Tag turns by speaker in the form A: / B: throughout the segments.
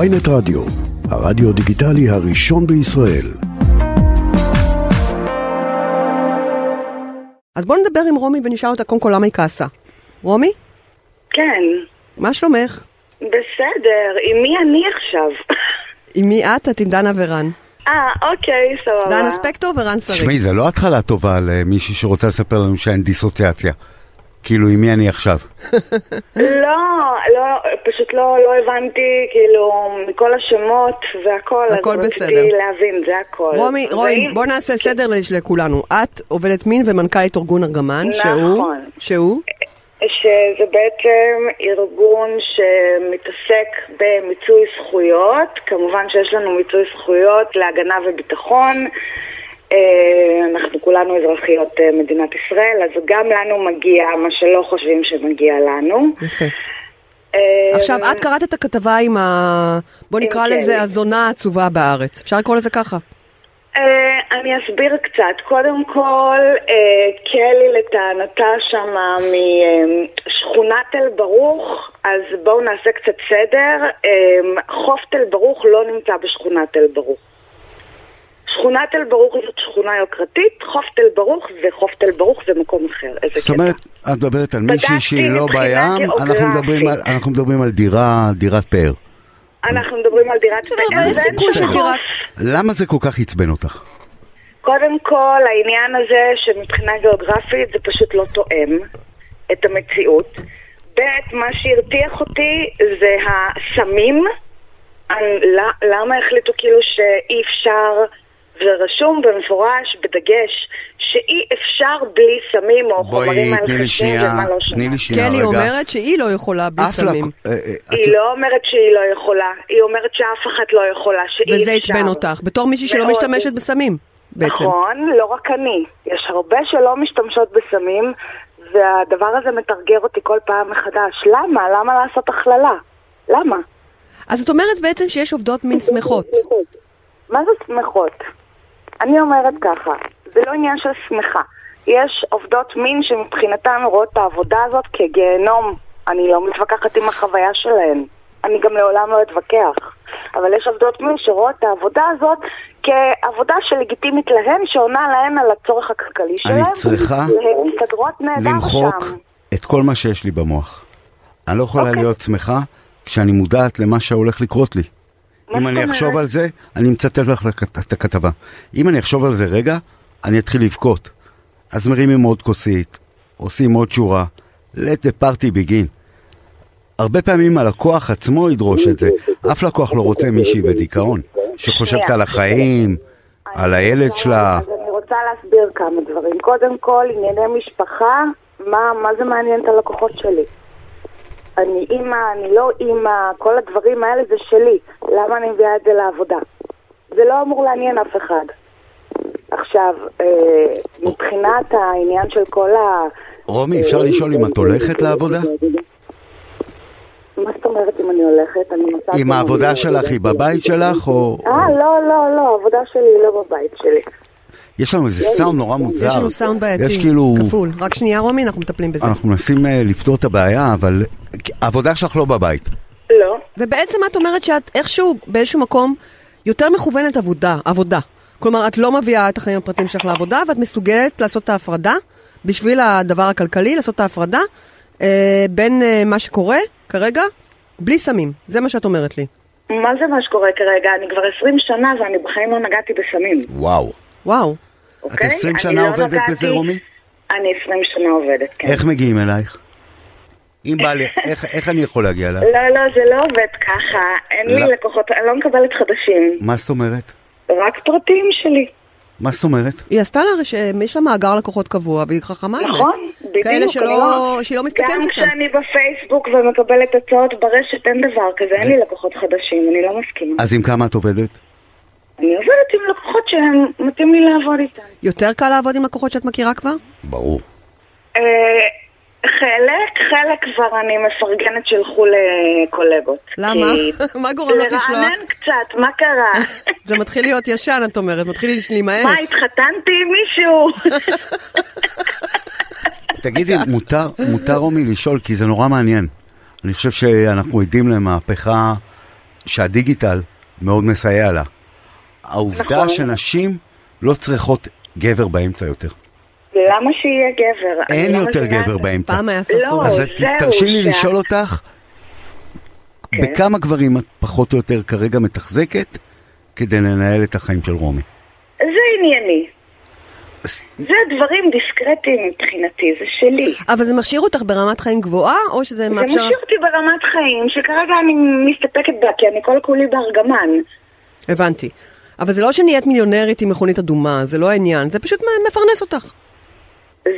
A: ויינט רדיו, הרדיו דיגיטלי הראשון בישראל.
B: אז בואו נדבר עם רומי ונשאל אותה קודם כל למה היא כעסה. רומי,
C: כן,
B: מה שלומך?
C: בסדר, עם מי אני עכשיו?
B: עם מי את? את עם דנה ורן.
C: אה, אוקיי, סבבה.
B: דנה ספקטור ורן שרי.
D: תשמעי, זה לא התחלה טובה למישהי שרוצה לספר לנו שאין דיסוציאציה. כאילו, עם מי אני עכשיו?
C: לא, לא, פשוט לא, לא הבנתי, כאילו, מכל השמות והכל,
B: הכל
C: אז
B: בסדר.
C: רציתי להבין, זה הכל.
B: רומי, רועי,
C: ואם-
B: בואו נעשה סדר לש- לכולנו. את עובדת מין ומנכ"לית ארגון ארגמן, שהוא...
C: נכון.
B: שהוא?
C: שזה בעצם ארגון שמתעסק במיצוי זכויות, כמובן שיש לנו מיצוי זכויות להגנה וביטחון. אה, אנחנו כולנו אזרחיות אה, מדינת ישראל, אז גם לנו מגיע מה שלא חושבים שמגיע לנו.
B: יפה.
C: אה,
B: עכשיו, את קראת את הכתבה עם ה... בוא
C: עם
B: נקרא
C: קלי.
B: לזה הזונה העצובה בארץ. אפשר לקרוא לזה ככה?
C: אה, אני אסביר קצת. קודם כל, אה, קלי לטענתה שמה משכונת תל ברוך, אז בואו נעשה קצת סדר. אה, חוף תל ברוך לא נמצא בשכונת תל ברוך. שכונת תל ברוך זאת שכונה יוקרתית, חוף תל ברוך זה חוף תל ברוך זה מקום אחר. איזה
D: זאת אומרת, את מדברת על מישהי שהיא לא
C: מבחינה
D: בים, אנחנו
C: גיאוגרפית.
D: מדברים על- אנחנו מדברים על דירה, דירת פאר.
C: אנחנו מדברים על דירת
B: בסדר, אבל יש
C: ואין
B: סיכוי
C: חוף.
B: שדירת...
D: למה זה כל כך עצבן אותך?
C: קודם כל, העניין הזה שמבחינה גיאוגרפית זה פשוט לא תואם את המציאות. ב', מה שהרתיח אותי זה הסמים. אני- ל- למה החליטו כאילו שאי אפשר, ורשום במפורש, בדגש, שאי אפשר בלי סמים או חומרים
D: בואי, תני לי
C: מהלכתיים
D: שנייה,
C: ומה לא שונה.
D: תני לי שנייה רגע.
B: קלי אומרת שהיא לא יכולה בלי
D: אף
B: סמים.
D: לק- אה, אה, את-
C: היא לא אומרת שהיא לא יכולה, היא אומרת שאף אחת לא יכולה, שאי אפשר.
B: וזה עצבן אותך, בתור מישהי שלא
C: מאוד.
B: משתמשת בסמים, בעצם.
C: נכון, לא רק אני. יש הרבה שלא משתמשות בסמים, והדבר הזה מתרגר אותי כל פעם מחדש. למה? למה לעשות הכללה? למה?
B: אז את אומרת בעצם שיש עובדות מין שמחות.
C: מה זה שמחות? אני אומרת ככה, זה לא עניין של שמחה. יש עובדות מין שמבחינתן רואות את העבודה הזאת כגיהנום. אני לא מתווכחת עם החוויה שלהן. אני גם לעולם לא אתווכח. אבל יש עובדות מין שרואות את העבודה הזאת כעבודה שלגיטימית להן, שעונה להן על הצורך הכלכלי שלהן.
D: אני צריכה
C: והן מסתדרות נהדר
D: למחוק
C: שם.
D: את כל מה שיש לי במוח. אני לא יכולה
C: אוקיי.
D: להיות שמחה כשאני מודעת למה שהולך לקרות לי.
C: מה
D: אם
C: זאת
D: אני
C: אומרת?
D: אחשוב על זה, אני מצטט לך לכת- את הכתבה. אם אני אחשוב על זה רגע, אני אתחיל לבכות. אז מרימים עוד כוסית, עושים עוד שורה, let the party begin. הרבה פעמים הלקוח עצמו ידרוש את זה. אף לקוח לא רוצה מישהי בדיכאון, שחושבת
C: שנייה.
D: על החיים, על הילד שלה.
C: אז אני רוצה להסביר כמה דברים. קודם כל, ענייני משפחה, מה, מה זה מעניין את הלקוחות שלי? אני אימא, אני לא אימא, כל הדברים האלה זה שלי. למה אני מביאה את זה לעבודה? זה לא אמור לעניין אף אחד. עכשיו, אה, מבחינת העניין של כל ה...
D: רומי,
C: אה,
D: אפשר לשאול אם את הולכת לעבודה?
C: מה זאת אומרת אם אני הולכת? אני נוסעת
D: אם העבודה שלך היא בבית שלך, או...
C: אה, לא, לא, לא, העבודה שלי היא לא בבית שלי.
D: יש לנו איזה סאונד נורא מוזר.
B: יש לנו סאונד בעייתי,
D: יש כאילו...
B: כפול. רק שנייה רומי, אנחנו מטפלים בזה.
D: אנחנו מנסים אה, לפתור את הבעיה, אבל העבודה שלך לא בבית.
C: לא.
B: ובעצם את אומרת שאת איכשהו, באיזשהו מקום, יותר מכוונת עבודה, עבודה. כלומר, את לא מביאה את החיים הפרטיים שלך לעבודה, ואת מסוגלת לעשות את ההפרדה, בשביל הדבר הכלכלי, לעשות את ההפרדה אה, בין אה, מה שקורה כרגע, בלי סמים. זה מה שאת אומרת לי.
C: מה זה מה שקורה כרגע? אני כבר 20 שנה ואני בחיים לא נגעתי בסמים,
D: וואו.
B: וואו.
C: אוקיי?
D: 20
C: אני
D: שנה
C: לא
D: עובדת
C: נגעתי-
D: בזה, רומי?
C: אני 20 שנה עובדת, כן.
D: איך מגיעים אלייך? אם בא לי, איך- איך אני יכול להגיע אלייך?
C: לא, לא, זה לא עובד ככה. אין לי
D: לא.
C: לקוחות, אני לא מקבלת חדשים.
D: מה זאת אומרת?
C: רק פרטים שלי.
D: מה זאת אומרת?
B: היא עשתה לה, ש... יש לה מאגר לקוחות קבוע, והיא חכמה. האמת.
C: נכון, בדיוק.
B: כאלה שלא,
C: אני
B: שהיא לא מסתכלת
C: גם
B: איתם.
C: כשאני בפייסבוק ומקבלת הצעות ברשת, אין דבר כזה, אין לי לקוחות חדשים, אני לא מסכימה.
D: אה. אז עם כמה את עובדת?
C: אני עובדת עם לקוחות שהם מתאים לי לעבוד איתם.
B: יותר קל לעבוד עם לקוחות שאת מכירה כבר?
D: ברור.
C: אה, חלק, חלק כבר אני מפרגנת שילכו לקולגות.
B: למה?
C: כי-
B: מה גורם לך לשלוח?
C: לרענן קצת, מה קרה?
B: זה מתחיל להיות ישן, את אומרת, מתחיל להימאס.
C: מה, התחתנתי עם מישהו?
D: תגידי, מותר, מותר רומי לשאול, כי זה נורא מעניין. אני חושב שאנחנו עדים למהפכה שהדיגיטל מאוד מסייע לה. העובדה
C: נכון.
D: שנשים לא צריכות גבר באמצע יותר.
C: למה שיהיה גבר? אני
D: אין
C: לא
D: יותר
C: מבינה
D: גבר
C: את זה.
D: באמצע.
B: פעם היה
C: לא,
B: ספרות.
D: אז
C: זהו,
D: את- תרשי לי
C: זה-
D: לשאול אותך, בכמה גברים את פחות או יותר כרגע מתחזקת כדי לנהל את החיים של רומי?
C: זה ענייני.
D: אז-
C: זה דברים דיסקרטיים מבחינתי, זה שלי.
B: אבל זה מכשיר אותך ברמת חיים גבוהה, או שזה
C: זה
B: מאפשר...
C: משאיר אותי ברמת חיים, שכרגע אני מסתפקת בה, כי אני כל כולי בארגמן.
B: הבנתי. אבל זה לא שנהיית מיליונרית עם מכונית אדומה, זה לא העניין, זה פשוט מפרנס אותך.
C: זה...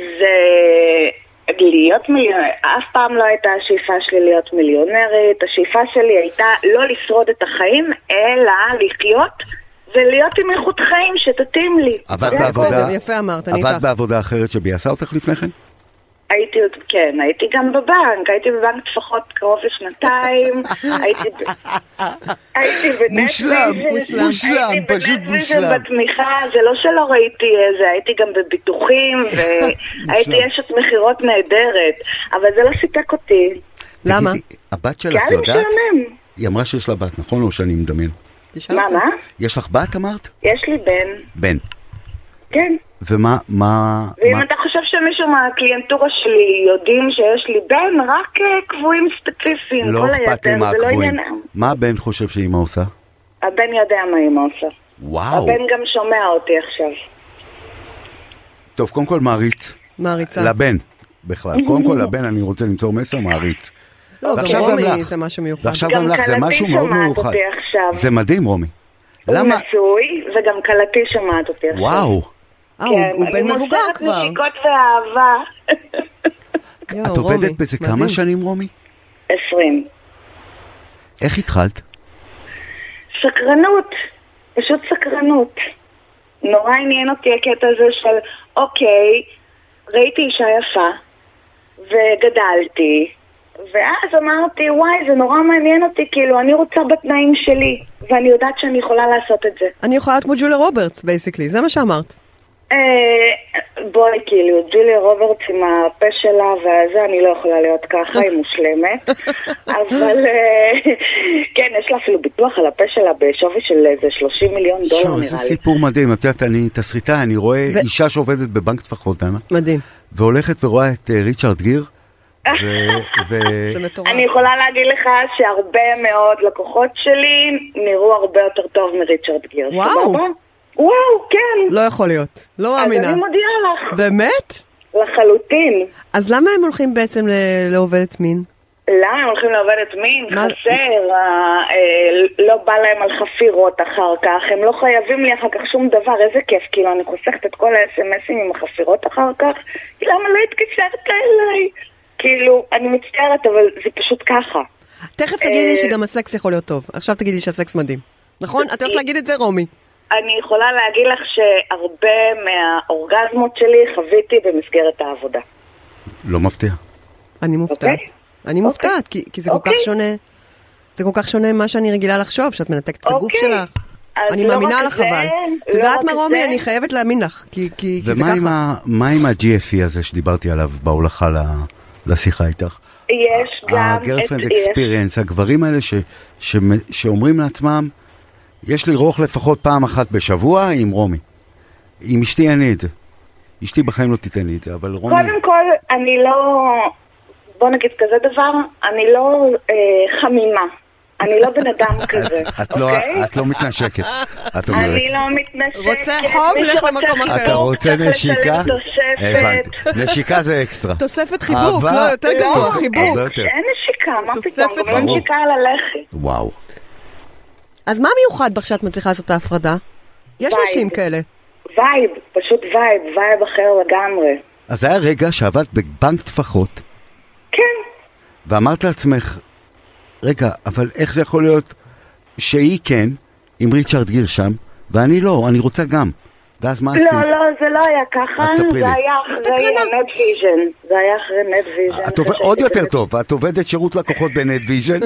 C: להיות מיליונרית, אף פעם לא הייתה השאיפה שלי להיות מיליונרית, השאיפה שלי הייתה לא לשרוד את החיים, אלא לחיות ולהיות עם איכות חיים שתתאים לי.
D: עבדת
C: זה הכל.
D: בעבודה,
B: בסדר, יפה אמרת, אני
D: עבדת
B: איתך.
D: בעבודה אחרת שביאסה אותך לפני כן?
C: הייתי עוד, כן, הייתי גם בבנק, הייתי בבנק לפחות קרוב לשנתיים, הייתי ב... הייתי בנטוויז'ן,
D: מושלם,
B: מושלם,
D: מושלם,
C: הייתי
D: פשוט
C: בנטוויז'ן
D: מושלם.
C: בתמיכה, זה לא שלא ראיתי איזה, הייתי גם בביטוחים, והייתי
D: מושלם.
C: אשת מכירות נהדרת, אבל זה לא סיפק אותי,
B: למה?
D: תגידי, הבת
C: כי
D: שלך
C: היה לי
D: יודעת?
C: משעמם.
D: היא אמרה שיש לה בת, נכון? או שאני מדמיין.
B: תשאל
C: מה,
B: אותה.
C: מה?
D: יש לך בת אמרת?
C: יש לי בן,
D: בן.
C: כן.
D: ומה, מה,
C: ואם
D: מה-
C: אתה חושב שמישהו מהקליינטורה שלי יודעים שיש לי בן, רק אה, קבועים ספציפיים,
D: לא
C: כל
D: אכפת לי
C: היתר
D: מה
C: זה לא
D: הקבועים.
C: עניינם.
D: מה הבן חושב שאימא עושה?
C: הבן יודע מה אמא
D: אה,
C: עושה.
D: וואו.
C: הבן גם שומע אותי עכשיו.
D: טוב, קודם כל מעריץ.
B: מעריצה.
D: לבן, בכלל. קודם כל לבן אני רוצה למסור מסר מעריץ.
B: לא, גם
D: ועכשיו גם
B: רומי
D: לך.
B: זה משהו מיוחד.
D: ועכשיו
C: גם
D: גם לך, זה
C: כלתי
D: משהו מאוד
C: שומעת
D: מיוחד.
C: אותי עכשיו.
D: זה מדהים, רומי. למה?
C: הוא נשוי, וגם כלתי שומעת אותי עכשיו.
D: וואו.
B: אה, הוא-
C: כן,
B: הוא
C: אני
B: בן מבוגר
C: מוסרת
B: כבר.
C: נשיקות ואהבה.
B: יואו,
D: את עובדת
B: רומי,
D: בזה כמה
B: מדהים.
D: שנים, רומי?
C: עשרים.
D: איך התחלת?
C: סקרנות. פשוט סקרנות. נורא עניין אותי הקטע הזה של, אוקיי, ראיתי אישה יפה, וגדלתי, ואז אמרתי, וואי, זה נורא מעניין אותי, כאילו, אני רוצה בתנאים שלי, ואני יודעת שאני יכולה לעשות את זה.
B: אני יכולה להיות כמו ג'וליה רוברטס, בייסיקלי, זה מה שאמרת.
C: אה, בואי, כאילו, ג'וליה רוברטס עם הפה שלה וזה, אני לא יכולה להיות ככה, היא מושלמת. אבל אה, כן, יש לה אפילו ביטוח על הפה שלה בשווי של איזה 30 מיליון דולר
D: שוב, זה
C: לא, נראה לי.
D: סיפור מדהים. את יודעת, אני תסריטאי, אני רואה
B: ו-
D: אישה שעובדת בבנק טפחות, דנה,
B: מדהים,
D: והולכת ורואה את אה, ריצ'רד גיר, ו- ו-
B: זה מטורף.
C: אני יכולה להגיד לך שהרבה מאוד לקוחות שלי נראו הרבה יותר טוב מריצ'רד גיר.
B: וואו.
C: סבבה? וואו, כן.
B: לא יכול להיות, לא
C: אז
B: מאמינה.
C: אני מודיעה לך,
B: באמת?
C: לחלוטין.
B: אז למה הם הולכים בעצם ל- לעובדת מין?
C: למה הם הולכים לעובדת מין?
B: מה-
C: חסר, אה, אה, לא בא להם על חפירות אחר כך, הם לא חייבים לי אחר כך שום דבר, איזה כיף, כאילו אני חוסכת את כל האס.אם.אסים עם החפירות אחר כך, למה לא התקשרת אליי? כאילו, אני מצטערת, אבל זה פשוט ככה.
B: תכף תגידי
C: אה.
B: לי שגם הסקס יכול להיות טוב. עכשיו תגידי לי שהסקס מדהים. נכון? את
C: אה.
B: הולכת להגיד את זה, רומי.
C: אני יכולה להגיד לך שהרבה מהאורגזמות שלי חוויתי במסגרת העבודה.
D: לא מפתיע.
B: אני מופתעת.
C: אוקיי.
B: אני מופתעת, כי כי זה כל כך
C: אוקיי.
B: שונה. זה כל כך שונה ממה שאני רגילה לחשוב, שאת מנתקת את הגוף
C: אוקיי.
B: שלך.
C: אז
B: אני
C: לא
B: מאמינה
C: רק
B: לך
C: זה,
B: אבל. את
C: לא
B: יודעת
C: רק
B: מה, רומי?
C: זה.
B: אני חייבת להאמין לך, כי כי- כי זה
D: ומה עם
B: ככה.
D: ה- מה עם ה-GFE הזה שדיברתי עליו בהולכה ל- לשיחה איתך?
C: יש
D: אה,
C: גם את...
D: ה-girlfriend
C: יש-
D: experience, הגברים האלה ש, ש, שאומרים לעצמם, יש לי רוך לפחות פעם אחת בשבוע עם רומי. עם אשתי אין לי את זה. אשתי בחיים לא תיתן לי את זה, אבל רומי...
C: קודם כל, אני לא... בוא נגיד כזה דבר, אני לא אה, חמימה. אני לא בן אדם כזה,
D: את לא,
C: אוקיי?
D: את לא מתנשקת, את אומרת.
C: אני לא מתנשקת.
B: רוצה חום?
C: מי
B: לך
C: שרוצה
B: למקום אחר.
D: אתה
C: חיבוק,
D: רוצה
C: צריך לשלם
D: נשיקה?
C: תוספת.
D: הבנתי. נשיקה זה אקסטרה.
B: תוספת חיבוק,
D: אהבה-
B: לא, יותר
C: לא,
B: גרוע,
D: תוספת-
B: חיבוק.
D: הרבה יותר.
C: אין נשיקה, מה
B: תוספת
C: פתאום? גם
D: ברור.
C: אין נשיקה על הלחי.
D: וואו.
B: אז מה מיוחד בך שאת מצליחה לעשות את ההפרדה? יש
C: וייב.
B: נשים כאלה.
C: וייב, פשוט וייב, וייב אחר לגמרי.
D: אז היה רגע שעבדת בבנק טפחות,
C: כן,
D: ואמרת לעצמך, רגע, אבל איך זה יכול להיות שהיא כן, עם ריצ'רד גיר שם, ואני לא, אני רוצה גם. ואז מה עשית?
C: לא, לא, זה לא היה ככה,
D: אז ספרי לי.
C: זה היה אחרי
B: הסתכלנה.
C: נטוויז'ן. זה היה אחרי נטוויז'ן.
D: את עובד, עוד יותר טוב, את עובדת שירות לקוחות בנטוויז'ן,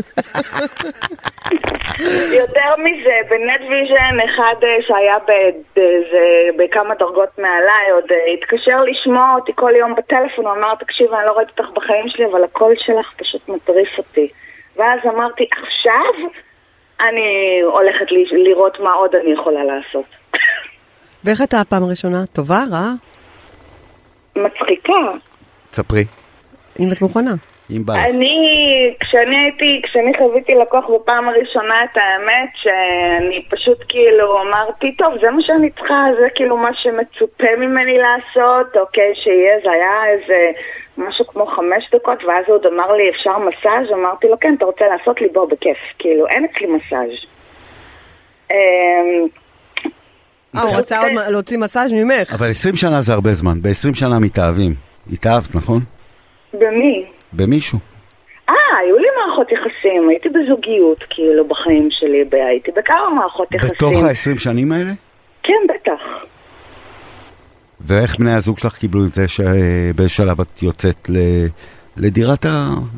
C: יותר מזה, בנטוויז'ן אחד אה, שהיה באיזה, בכמה דרגות מעליי עוד אה, התקשר לשמוע אותי כל יום בטלפון, הוא אמר, תקשיב, אני לא ראיתי אותך בחיים שלי, אבל הקול שלך פשוט מטריף אותי. ואז אמרתי, עכשיו? אני הולכת ל- לראות מה עוד אני יכולה לעשות.
B: ואיך הייתה הפעם הראשונה? טובה? רעה?
C: מצחיקה.
D: תספרי,
B: אם את מוכנה.
D: אם בא לך.
C: אני, כשאני הייתי, כשאני חוויתי לקוח בפעם הראשונה את האמת, שאני פשוט כאילו אמרתי, טוב, זה מה שאני צריכה, זה כאילו מה שמצופה ממני לעשות, אוקיי, שיהיה, זה היה איזה משהו כמו חמש דקות, ואז הוא עוד אמר לי, אפשר מסאז'? אמרתי לו, כן, אתה רוצה לעשות לי? בוא, בכיף. כאילו, אין אצלי מסאז'. אמ,
B: אה, הוא רצה
C: אוקיי.
B: עוד מה- להוציא מסאז' ממך.
D: אבל 20 שנה זה הרבה זמן, ב-20 שנה מתאהבים. התאהבת, נכון?
C: במי?
D: במישהו.
C: אה, היו לי מערכות יחסים, הייתי בזוגיות, כאילו, בחיים שלי, ב- הייתי בכמה מערכות יחסים.
D: בתוך ה-20 שנים האלה?
C: כן, בטח.
D: ואיך בני הזוג שלך קיבלו את זה שבשלב את יוצאת ל- לדירת ה...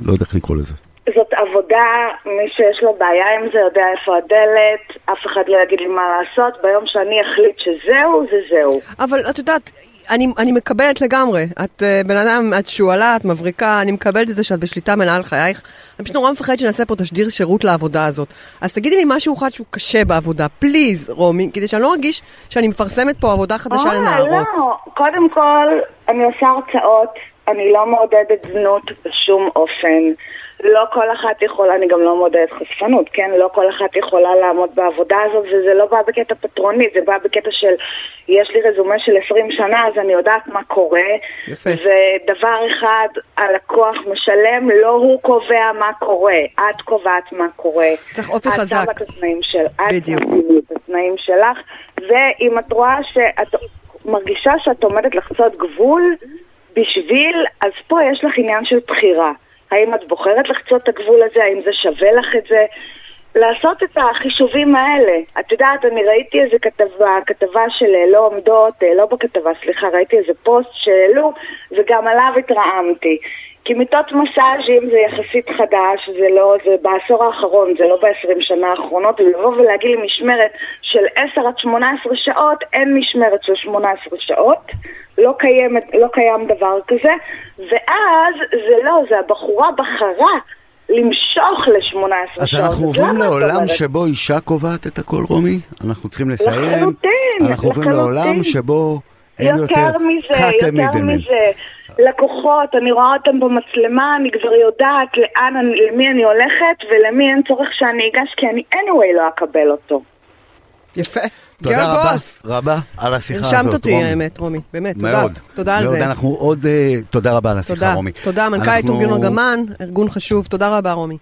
D: לא יודע איך לקרוא לזה.
C: זאת עבודה, מי שיש לו בעיה עם זה יודע איפה הדלת, אף אחד לא יגיד לי מה לעשות, ביום שאני אחליט שזהו, זה זהו.
B: אבל את יודעת, אני, אני מקבלת לגמרי. את אה, בן אדם, את שועלה, את מבריקה, אני מקבלת את זה שאת בשליטה מלאה על חייך. אני פשוט נורא מפחדת שנעשה פה תשדיר שירות לעבודה הזאת. אז תגידי לי משהו אחד שהוא קשה בעבודה, פליז, רומי, כדי שאני לא ארגיש שאני מפרסמת פה עבודה חדשה לנערות.
C: לא, קודם כל, אני עושה הרצאות, אני לא מעודדת זנות בשום אופן. לא כל אחת יכולה, אני גם לא מעודדת חשפנות, כן? לא כל אחת יכולה לעמוד בעבודה הזאת, וזה לא בא בקטע פטרוני, זה בא בקטע של יש לי רזומה של 20 שנה, אז אני יודעת מה קורה.
B: יפה.
C: ודבר אחד, הלקוח משלם, לא הוא קובע מה קורה, את קובעת מה קורה.
B: צריך אופי
C: את
B: חזק.
C: שמה את התנאים של... את
B: בדיוק.
C: תעשי את התנאים שלך, ואם את רואה שאת מרגישה שאת עומדת לחצות גבול בשביל, אז פה יש לך עניין של בחירה. האם את בוחרת לחצות את הגבול הזה? האם זה שווה לך את זה? לעשות את החישובים האלה. את יודעת, אני ראיתי איזה כתבה, כתבה של אה, לא עומדות, אה, לא בכתבה, סליחה, ראיתי איזה פוסט שהעלו, וגם עליו התרעמתי. כי מיטות מסאז'ים זה יחסית חדש, זה לא, זה בעשור האחרון, זה לא בעשרים שנה האחרונות, ולבוא ולהגיד לי משמרת של 10 עד 18 שעות, אין משמרת של 18 שעות, לא, קיימת, לא קיים דבר כזה, ואז זה לא, זה הבחורה בחרה למשוך ל-18 שעות.
D: אז אנחנו
C: למה
D: עוברים
C: את
D: לעולם
C: לא אומרת?
D: שבו אישה קובעת את הכל, רומי? אנחנו צריכים לסיים.
C: לחלוטין,
D: אנחנו עוברים
C: לחלוטין.
D: לעולם שבו אין יותר...
C: יותר מזה,
D: cut and
C: יותר
D: middleman.
C: מזה. לקוחות, אני רואה אותם במצלמה, אני כבר יודעת לאן, אני- למי אני הולכת ולמי אין צורך שאני אגש, כי אני anyway לא אקבל אותו.
B: יפה. גר
D: תודה רבה,
B: בוס.
D: רבה, על השיחה הזאת, רומי.
B: הרשמת אותי, האמת, רומי, באמת, תודה.
D: מאוד.
B: תודה על
D: מאוד,
B: זה.
D: אנחנו עוד... אה, תודה רבה על השיחה,
B: תודה.
D: רומי.
B: תודה, מנכ"לית
D: אנחנו-
B: ארגון ארגמן, ארגון חשוב, תודה רבה, רומי.